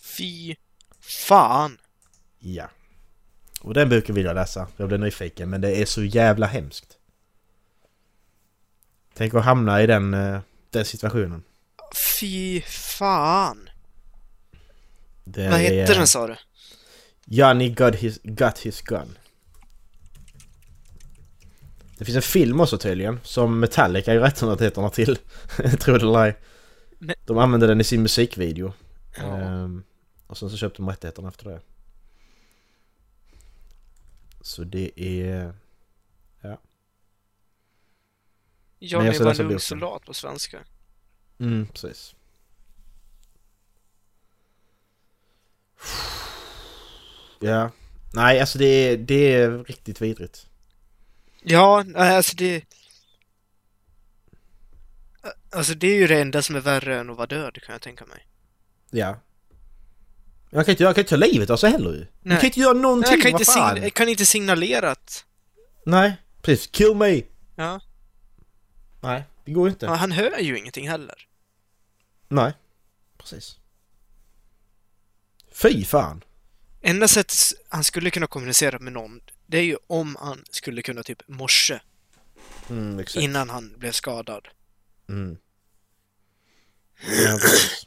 D: Fy fan.
E: Ja. Och den boken vill jag läsa. Jag blev nyfiken men det är så jävla hemskt. Tänk att hamna i den, eh, den situationen.
D: Fy fan.
E: Det
D: Vad
E: är,
D: hette
E: eh,
D: den sa du?
E: Johnny got his, got his gun. Det finns en film också tydligen som Metallica är rättigheterna till. Tror det eller ej.
D: Men-
E: De använde den i sin musikvideo.
D: Ja.
E: Ehm, och sen så köpte de rättigheterna efter det. Så det är...
D: Johnny
E: jag ska
D: var
E: läsa
D: en ung
E: boken.
D: soldat på svenska.
E: Mm, precis. Ja. Nej, alltså det är, det är riktigt vidrigt.
D: Ja, nej, alltså det... Alltså det är ju det enda som är värre än att vara död kan jag tänka mig.
E: Ja. Jag kan inte, jag kan inte ta livet av sig heller ju. Du
D: Nej.
E: kan inte göra någonting,
D: Nej, jag, kan inte
E: vad fan.
D: signa- jag kan inte signalera att...
E: Nej, precis. Kill me!
D: Ja.
E: Nej, det går ju inte.
D: Ja, han hör ju ingenting heller.
E: Nej. Precis. Fy fan.
D: Enda sättet s- han skulle kunna kommunicera med någon, det är ju om han skulle kunna typ morse
E: Mm, exakt.
D: innan han blev skadad.
E: Mm. Ja, precis.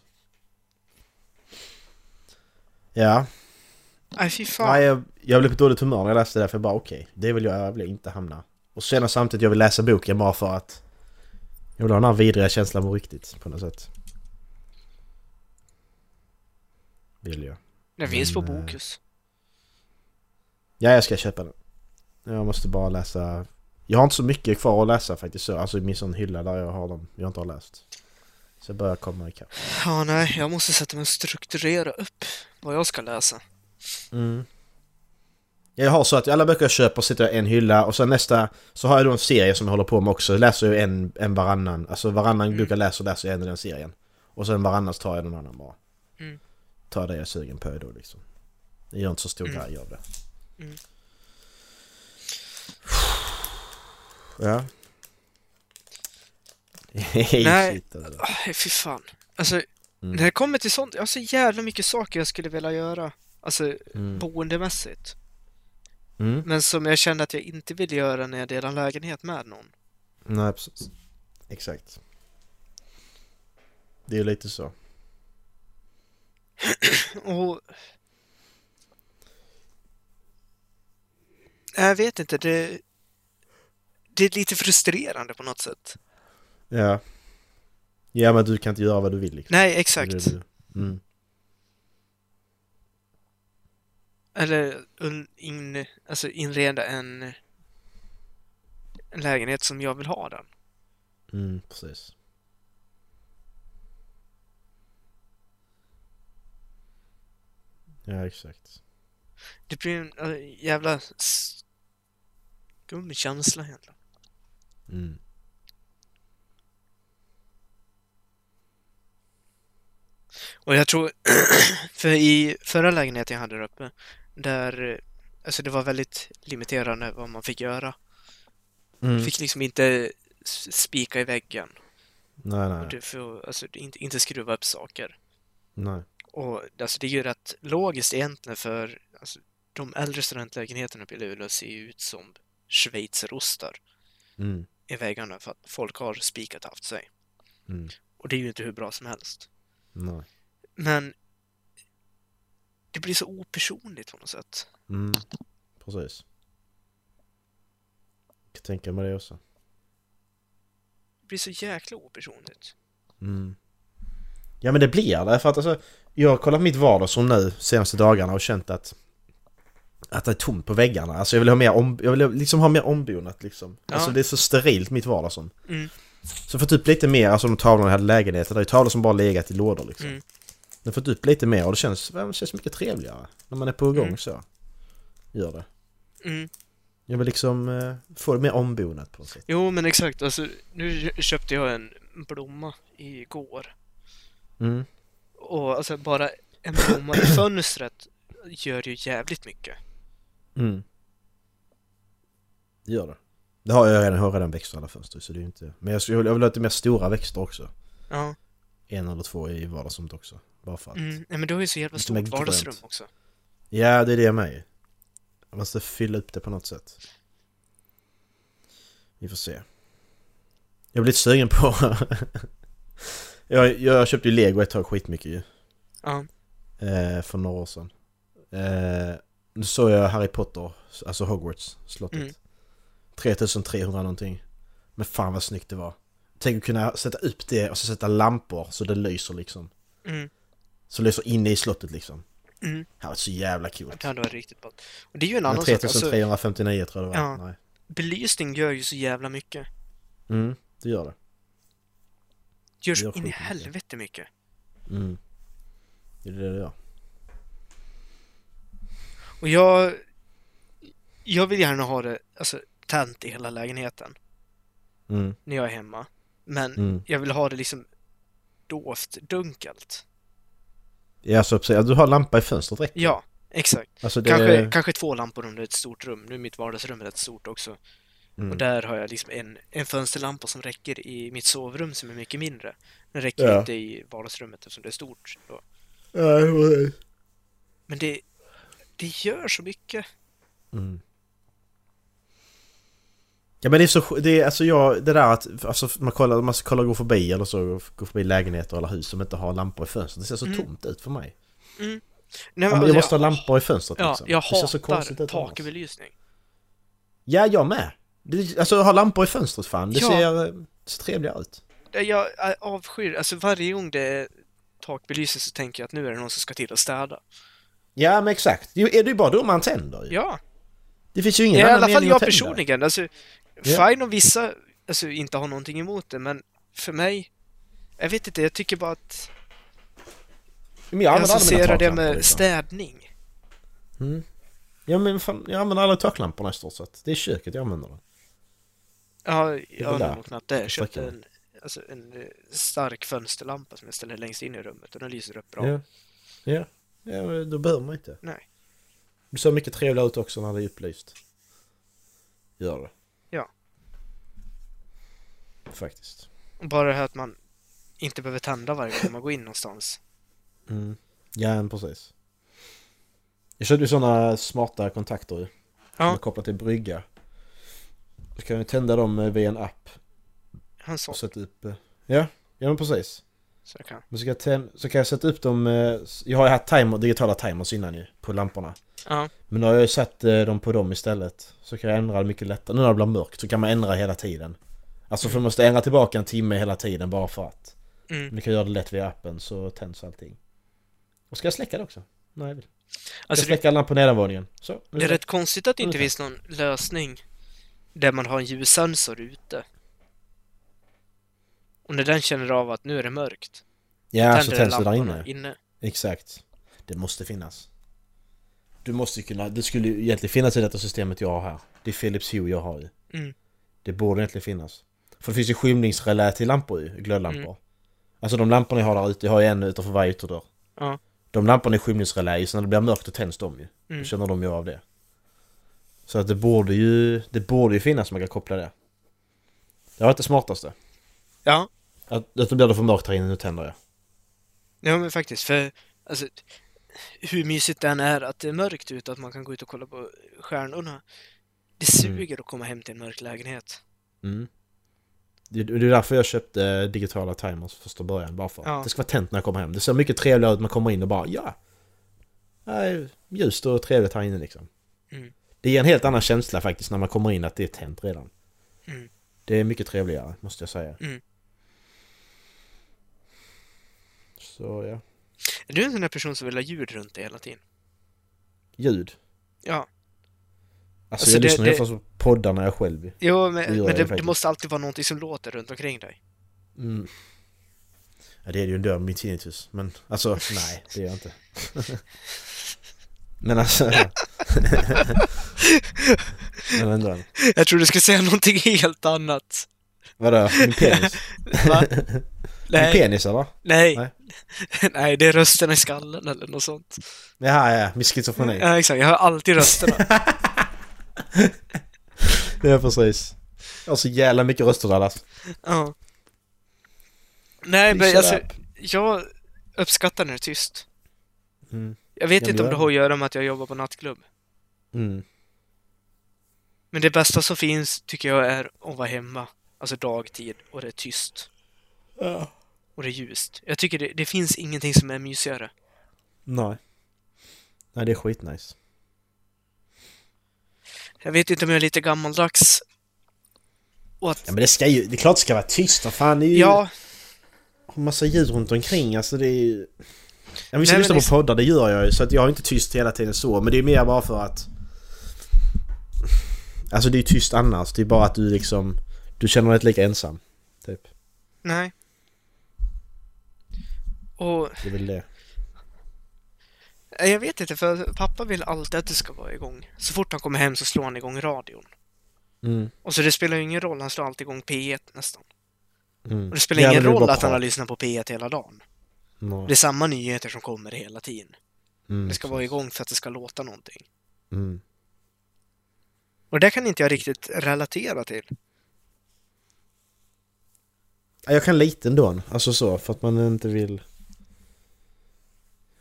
E: Ja,
D: Nej, fy fan.
E: nej, jag, jag blev på dåligt humör när jag läste det där för jag bara okej, det vill jag, jag vill inte hamna. Och sen samtidigt jag vill läsa boken bara för att jag vill ha den här vidriga känslan på riktigt på något sätt. Vill jag.
D: Den finns på
E: Men, eh,
D: Bokus.
E: Ja, jag ska köpa den. Jag måste bara läsa. Jag har inte så mycket kvar att läsa faktiskt så, alltså i min sån hylla där jag har dem jag inte har läst. Så jag börjar komma ikapp.
D: Ja, nej, jag måste sätta mig och strukturera upp vad jag ska läsa.
E: Mm. Jag har så att alla böcker jag köper sitter jag i en hylla och sen nästa så har jag då en serie som jag håller på med också. Jag läser ju en, en varannan. Alltså varannan
D: Mm.
E: bok jag läser läser jag en i den serien. Och sen varannas tar jag någon annan bara.
D: Mm.
E: Tar det jag är sugen på då liksom. Jag gör inte så stor grej av det.
D: Mm.
E: Ja. Hej,
D: Nej.
E: shit, alltså.
D: Aj, fy fan. Alltså,
E: Mm.
D: när det kommer till sånt, jag har så jävla mycket saker jag skulle vilja göra. Alltså, boendemässigt.
E: Mm.
D: Men som jag kände att jag inte vill göra när jag delar lägenhet med någon.
E: Nej, precis. Exakt. Det är lite så.
D: Och... Jag vet inte, det... Det är lite frustrerande på något sätt.
E: Ja. Ja men du kan inte göra vad du vill liksom.
D: Nej, exakt.
E: Det är det. Mm.
D: Eller un- in, alltså inreda en, en lägenhet som jag vill ha den.
E: Mm, precis. Ja exakt.
D: Det blir en äh, jävla skum känsla egentligen.
E: Mm.
D: Och jag tror, för i förra lägenheten jag hade där uppe, där eh, alltså det var väldigt limiterande vad man fick göra.
E: Mm.
D: Fick liksom inte s- spika i väggen.
E: Nej nej.
D: Du får alltså, inte, inte skruva upp saker.
E: Nej.
D: Och alltså, det är ju rätt logiskt egentligen för alltså, de äldre studentlägenheterna uppe i Luleå ser ju ut som schweizerostar
E: Mm.
D: i väggarna för att folk har spikat haft sig.
E: Mm.
D: Och det är ju inte hur bra som helst.
E: Nej.
D: Men det blir så opersonligt på något sätt.
E: Mm. Precis. Jag kan tänka mig det också.
D: Det blir så jäkla opersonligt.
E: Mm. Ja men det blir det. För att alltså, jag har kollat mitt vardagsrum nu senaste dagarna och känt att att det är tomt på väggarna. Alltså jag vill ha mer, om, jag vill liksom ha mer ombonat liksom.
D: Ja.
E: Alltså det är så sterilt mitt vardagsrum.
D: Mm.
E: Så för typ lite mer, alltså de tavlorna jag hade i lägenheten, det är ju tavlor som bara legat i lådor liksom.
D: Mm.
E: Men för typ lite mer och det känns, det känns mycket trevligare. När man är på gång så. Gör det.
D: Mm.
E: Jag vill liksom eh, få det mer ombonat på något sätt.
D: Jo, men exakt. Alltså, nu köpte jag en blomma igår.
E: Mm.
D: Och alltså bara en blomma i fönstret gör ju jävligt mycket.
E: Mm. Det gör det. Det har jag redan, jag har redan växter i alla fönster så det är ju inte... Men jag, skulle- jag vill ha lite mer stora växter också.
D: Ja,
E: En eller två i vardagsrummet också. Bara för att.
D: mm. Nej, men du har ju så jävla
E: Lite mer
D: stort
E: grönt.
D: vardagsrum också.
E: Ja, det är det jag med. Jag måste fylla upp det på något sätt. Vi får se. Jag blir lite sugen på... jag, jag köpte ju lego ett tag skitmycket ju.
D: Ja.
E: Eh, för några år sedan. Eh, nu såg jag Harry Potter, alltså Hogwarts, slottet.
D: Mm.
E: 3300 någonting. Men fan vad snyggt det var. Tänk att kunna sätta upp det och så sätta lampor så det lyser liksom.
D: Mm.
E: Så lyser inne i slottet liksom.
D: Mm.
E: Det här var så jävla coolt.
D: Det hade varit riktigt ballt. Och det är ju en
E: Men
D: annan sak. Alltså,
E: 3359 tror jag det var.
D: Ja.
E: Nej.
D: belysning gör ju så jävla mycket.
E: Mm, det gör det.
D: Gör så
E: gör
D: in i
E: skitmycket.
D: helvete mycket.
E: Mm. Det är det det gör.
D: Och jag... Jag vill gärna ha det, alltså, tänt i hela lägenheten
E: Mm.
D: när jag är hemma. Men
E: Mm.
D: jag vill ha det liksom dovt, dunkelt.
E: Ja, så precis. Ja, Du har lampa i fönstret räcker.
D: Ja, exakt.
E: Alltså det...
D: Kanske, kanske två lampor under ett stort rum. Nu är mitt vardagsrum rätt stort också.
E: Mm.
D: Och där har jag liksom en, en fönsterlampa som räcker i mitt sovrum som är mycket mindre. Den räcker
E: Ja.
D: inte i vardagsrummet eftersom det är stort. Då.
E: Nej,
D: Men det, det gör så mycket.
E: Ja men det är så, det är, alltså jag, det där att alltså, man kollar, man ska kolla och gå förbi eller så, gå förbi lägenheter eller hus som inte har lampor i fönstret. Det ser så
D: Mm.
E: tomt ut för mig.
D: Nej,
E: Ja, men
D: alltså,
E: jag måste ha lampor i fönstret
D: Ja,
E: liksom.
D: jag
E: Det ser så konstigt
D: hatar
E: ut annars.
D: takbelysning.
E: Ja, jag med. Det, alltså ha lampor i fönstret fan, det
D: Ja.
E: ser, eh, ser trevligare ut.
D: Nej, Jag eh, avskyr, alltså varje gång det är takbelysning så tänker jag att nu är det någon som ska till och städa.
E: Ja men exakt, det är det ju bara då man tänder ju.
D: Ja,
E: Det finns ju ingen
D: i
E: annan
D: alla fall
E: mening
D: jag
E: att tända.
D: personligen. Alltså,
E: Ja.
D: fine om vissa alltså, inte har någonting emot det, men för mig, jag vet inte, jag tycker bara att
E: Men jag
D: jag
E: använder aldrig mina
D: associerar det
E: taklampor,
D: med
E: liksom.
D: städning.
E: Ja men fan, jag använder aldrig taklamporna i stort sett. Det är köket jag använder dem.
D: Ja, jag
E: väl
D: har
E: där.
D: nog knappt det. Jag köpte
E: Stackarn.
D: en, alltså, en eh, stark fönsterlampa som jag ställer längst in i rummet och den lyser upp bra.
E: Ja. Ja. ja, men då behöver man inte.
D: Nej.
E: Det ser mycket trevligare ut också när det är upplyst. Gör det.
D: Ja.
E: Faktiskt.
D: Och Bara det här att man inte behöver tända varje gång man går in någonstans.
E: Ja, men precis. Jag köpte ju sådana smarta kontakter ju. Som
D: Ja.
E: är kopplat till brygga. Så kan jag tända dem eh, via en app
D: Han sa
E: och sätta upp... eh, Ja, ja men precis.
D: så jag kan.
E: Men så kan, jag tänd, så kan jag sätta upp dem... eh, s- Jag har ju haft timer, digitala timers innan ju, på lamporna.
D: Ja.
E: Men nu har jag ju satt eh, dem på dem istället. Så kan jag ändra det mycket lättare. Nu när det blir mörkt så kan man ändra hela tiden. Alltså för man måste ändra tillbaka en timme hela tiden bara för att.
D: Mm.
E: Men du kan göra det lätt via appen så tänds allting. Och ska jag släcka det också? Nej, jag vill.
D: Alltså,
E: jag släcker alla på nedanvåningen. Så, nu
D: Det är
E: så.
D: rätt konstigt att det inte
E: Ungefär.
D: finns någon lösning där man har en ljussensor ute. Och när den känner av att nu är det mörkt,
E: Ja, så
D: den
E: tänds det där
D: lamporna
E: inne.
D: inne.
E: Exakt. Det måste finnas. Du måste ju kunna, det skulle ju egentligen finnas i detta systemet jag har här. Det är Philips Hue jag har ju.
D: Mm.
E: Det borde egentligen finnas. För det finns ju skymningsrelä till lampor ju, glödlampor.
D: Mm.
E: Alltså de lamporna jag har där ute, jag har ju en utanför varje ytterdörr.
D: Ja.
E: De lamporna är skymningsrelä ju, så när det blir mörkt då tänds de ju.
D: Mm.
E: Då känner de ju av det. Så att det borde ju, det borde ju finnas som man kan koppla det. Det var inte det smartaste.
D: Ja,
E: Att, att då blir det för mörkt här inne, nu tänder jag.
D: ja men faktiskt. För alltså, hur mysigt den är att det är mörkt ute, att man kan gå ut och kolla på stjärnorna. Det suger att komma hem till en mörk lägenhet.
E: Mm. Det, det är därför jag köpte digitala timers första början. Bara för att
D: Ja.
E: det ska vara tänt när jag kommer hem. Det ser mycket trevligare ut. Man kommer in och bara ja. Nej, ljust och trevligt här inne liksom.
D: Mm.
E: Det ger en helt annan känsla faktiskt när man kommer in att det är tänt redan.
D: Mm.
E: Det är mycket trevligare måste jag säga.
D: Mm.
E: Så ja.
D: Är du en sån där person som vill ha ljud runt dig hela tiden?
E: Ljud.
D: Ja.
E: Alltså,
D: Alltså,
E: jag
D: det-
E: lyssnar
D: det-
E: ju oftast på poddar när jag är själv ju.
D: Jo,
E: Det
D: men,
E: gör
D: men
E: jag
D: det, det
E: faktiskt.
D: måste alltid vara någonting som låter runt omkring dig.
E: Mm. Ja, det är det ju ändå min tinnitus. Men alltså, nej, det är jag inte. men alltså... men ändå.
D: Jag tror du skulle säga någonting helt annat.
E: Vadå? Min penis?
D: Va?
E: Min
D: Nej,
E: penis eller?
D: nej.
E: Nej.
D: Nej, det är rösten i skallen eller något sånt.
E: Jaha, ja. Min schizofreni.
D: Ja, exakt. Jag hör alltid rösterna.
E: Ja, precis. Jag har så jävla mycket röster Dallas.
D: Ja. Nej, men
E: Shut
D: alltså,
E: up.
D: jag uppskattar när det är tyst.
E: Mm.
D: Jag vet
E: Ja, men
D: inte om
E: jag-
D: det har att göra med att jag jobbar på nattklubb.
E: Mm.
D: Men det bästa som finns tycker jag är att vara hemma. Alltså dagtid och det är tyst. Och det är ljust. Jag tycker det, det finns ingenting som är mysigare.
E: Nej. Nej, det är skitnice.
D: Jag vet inte om jag är lite gammaldags. Och att,
E: Ja, men det ska ju... Det är klart det ska vara tyst. Vad fan, det är ju...
D: ja,
E: massa ljud runt omkring, alltså det är ju... Jag
D: Nej,
E: vill
D: men
E: lyssna
D: liksom-
E: på poddar, det gör jag ju, så att jag är inte tyst hela tiden så, men det är mer bara för att... Alltså det är ju tyst annars, det är bara att du liksom... Du känner dig inte lika ensam. Typ.
D: nej. Och
E: Det är väl det.
D: Eh, Jag vet inte, för pappa vill alltid att det ska vara igång. Så fort han kommer hem så slår han igång radion.
E: Mm.
D: Och så det spelar ju ingen roll, han slår alltid igång P1 nästan.
E: Mm.
D: Och det spelar
E: Jävlar,
D: ingen
E: det är
D: roll
E: bara
D: att han har
E: prat.
D: lyssnat på P1 hela dagen.
E: Nå.
D: Det är samma nyheter som kommer hela tiden.
E: Mm.
D: Det ska vara igång för att det ska låta någonting.
E: Mm.
D: Och det kan inte jag riktigt relatera till.
E: Ja, Jag kan lite ändå, alltså så, för att man inte vill...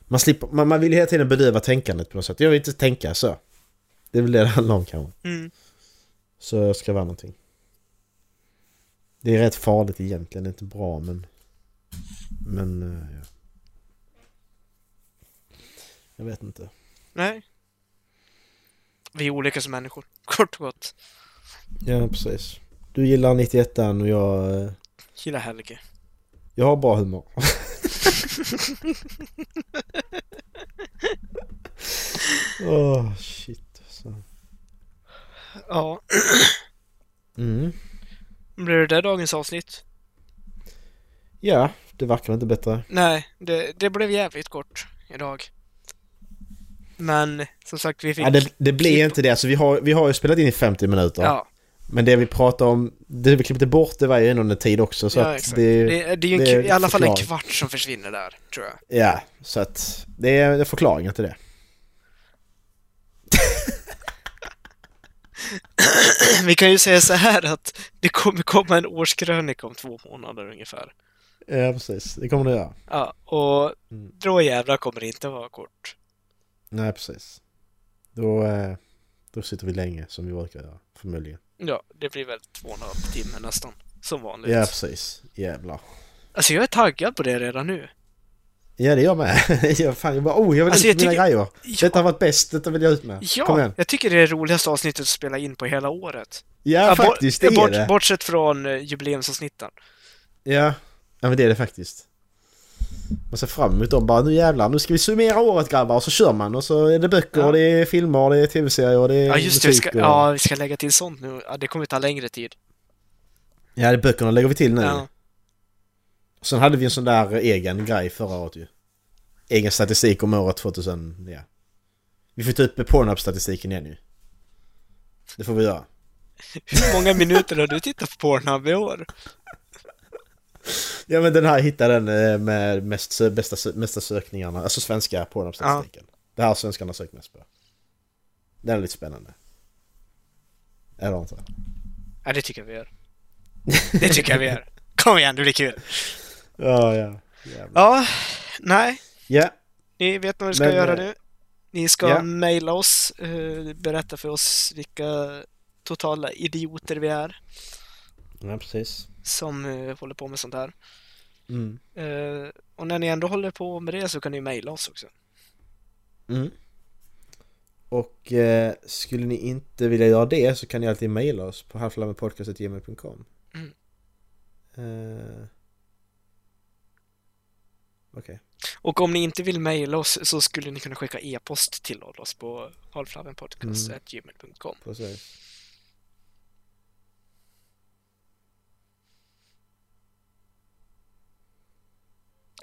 E: Man, slipper, man, man vill ju hela tiden bedriva tänkandet på något sätt. Jag vill inte tänka så. Det är väl det det handlar om kanske.
D: Mm.
E: Så jag ska vara någonting. Det är rätt farligt egentligen, det är inte bra men... Men... eh, Ja. Jag vet inte.
D: Nej. Vi är olika som människor, kort och gott.
E: Ja, precis. Du gillar 91 och jag... eh,
D: Gillar Helge.
E: Jag har bra humor. Åh, oh, shit. Så.
D: Ja,
E: Mm.
D: blir det där dagens avsnitt?
E: Ja, det verkar väl inte bättre.
D: Nej, det, det blev jävligt kort idag. Men som sagt, vi fick...
E: Ja, det, det blir
D: klipp-
E: inte det. Alltså, vi, har, vi har ju spelat in i 50 minuter.
D: Ja,
E: Men det vi pratade om, det vi klippte bort, det var ju ändå under tid också. Så
D: ja
E: att
D: exakt.
E: det,
D: Det, det, är ju en,
E: det är
D: i alla fall en
E: förklaring.
D: kvart som försvinner där, tror jag.
E: Ja, så att det är, det är förklaringen till det.
D: Vi kan ju säga så här att det kommer komma en årskrönika om två månader ungefär.
E: Ja, precis. Det kommer det göra.
D: Ja, och
E: Mm.
D: då jävlar kommer det inte vara kort.
E: Nej, precis. Då, eh, då sitter vi länge, som vi brukar göra. Förmodligen.
D: Ja, det blir väl två och en halv timme nästan. Som vanligt.
E: Ja, precis. Jävlar.
D: Alltså jag är taggad på det redan nu.
E: Ja, det är jag med. Jag, fan, jag bara, oh, jag vill
D: Alltså,
E: ut med
D: jag
E: mina grejer.
D: Ja.
E: Detta har varit bäst, detta vill jag ut med. Kom
D: Ja,
E: igen.
D: jag tycker det är det roligaste avsnittet att spela in på hela året.
E: Ja,
D: Ja, bort-
E: faktiskt, det är
D: bort,
E: det.
D: Bortsett från eh, jubileumsavsnitten.
E: Ja. ja, men det är det faktiskt. Man ser fram emot dem bara, nu jävlar, nu ska vi summera året grabbar, och så kör man. Och så är det böcker,
D: Ja.
E: och det är filmer, och det är tv-serier, och det är
D: Ja, just det. Vi ska,
E: Eh, musik och...
D: ja, vi ska lägga till sånt nu. Ja, det kommer ta längre tid.
E: ja, det är böckerna lägger vi till nu.
D: Ja.
E: Sen hade vi en sån där egen grej förra året ju. Egen statistik om året 2000, ja. Vi får ta upp Pornhub-statistiken igen ju. Det får vi göra.
D: Hur många minuter har du tittat på Pornhub i år?
E: Ja men den här hittade den eh, med mest, sö- bästa, sö- mesta sökningarna, alltså svenska Pornhub-statistiken. Det här har svenskarna sökt mest på. Den är lite spännande. Eller inte?
D: Ja, det tycker jag vi gör. Det tycker jag vi gör. Kom igen, det blir kul.
E: Ja, ja. Jävlar.
D: Ja, nej.
E: Ja,
D: Ni vet vad ni ska
E: Men,
D: göra
E: eh,
D: nu. Ni ska
E: ja.
D: mejla oss, eh, berätta för oss vilka totala idioter vi är
E: ja precis.
D: som eh, håller på med sånt här.
E: Mm.
D: Eh, och när ni ändå håller på med det så kan ni mejla oss också.
E: Mm. Och eh, skulle ni inte vilja göra det så kan ni alltid mejla oss på halflammenpodcast.gmail.com
D: Mm.
E: eh. Okej.
D: Och om ni inte vill mejla oss så skulle ni kunna skicka e-post till oss på halflavenpodcast.gmail.com
E: Precis.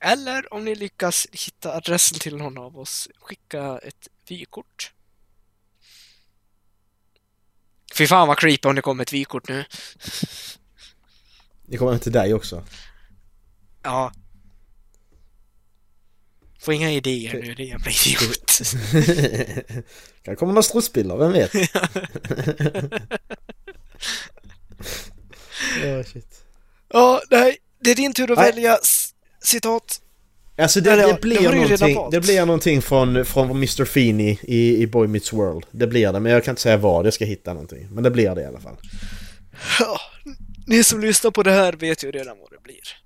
D: Eller om ni lyckas hitta adressen till någon av oss, skicka ett vykort. Fy fan vad creepy om det kommer ett vykort nu.
E: Det kommer hem till dig också.
D: Ja. Får inga idéer nu, det är jävla idiot.
E: kan komma några strutsbilder, vem vet? oh, shit.
D: Ja, nej. Det är din tur att
E: Nej.
D: välja s- citat.
E: Alltså det,
D: Eller ja,
E: det,
D: det
E: blir,
D: har du ju redan
E: någonting,
D: valt.
E: det blir någonting från, från Mr. Feeney i, i Boy Meets World. Det blir det, men jag kan inte säga vad. Jag ska hitta någonting. Men det blir det i alla fall.
D: Ja, ni som lyssnar på det här vet ju redan vad det blir.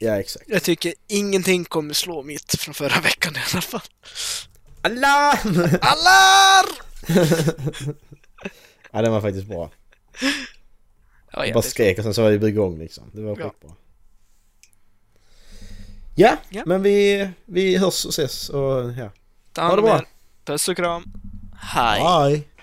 E: Ja, exakt.
D: Jag tycker ingenting kommer slå mitt från förra veckan i alla fall.
E: Alarm!
D: Alarm!
E: ja, den var faktiskt bra.
D: Ja,
E: Jag
D: ja,
E: bara
D: det-
E: skrek och sen så var vi igång liksom. Det var
D: Ja.
E: skitbra. Ja,
D: Ja.
E: men vi, vi hörs och ses och ja.
D: Ta
E: Ha
D: hand om
E: det bra.
D: er. Puss och kram. Hej.
E: Bye!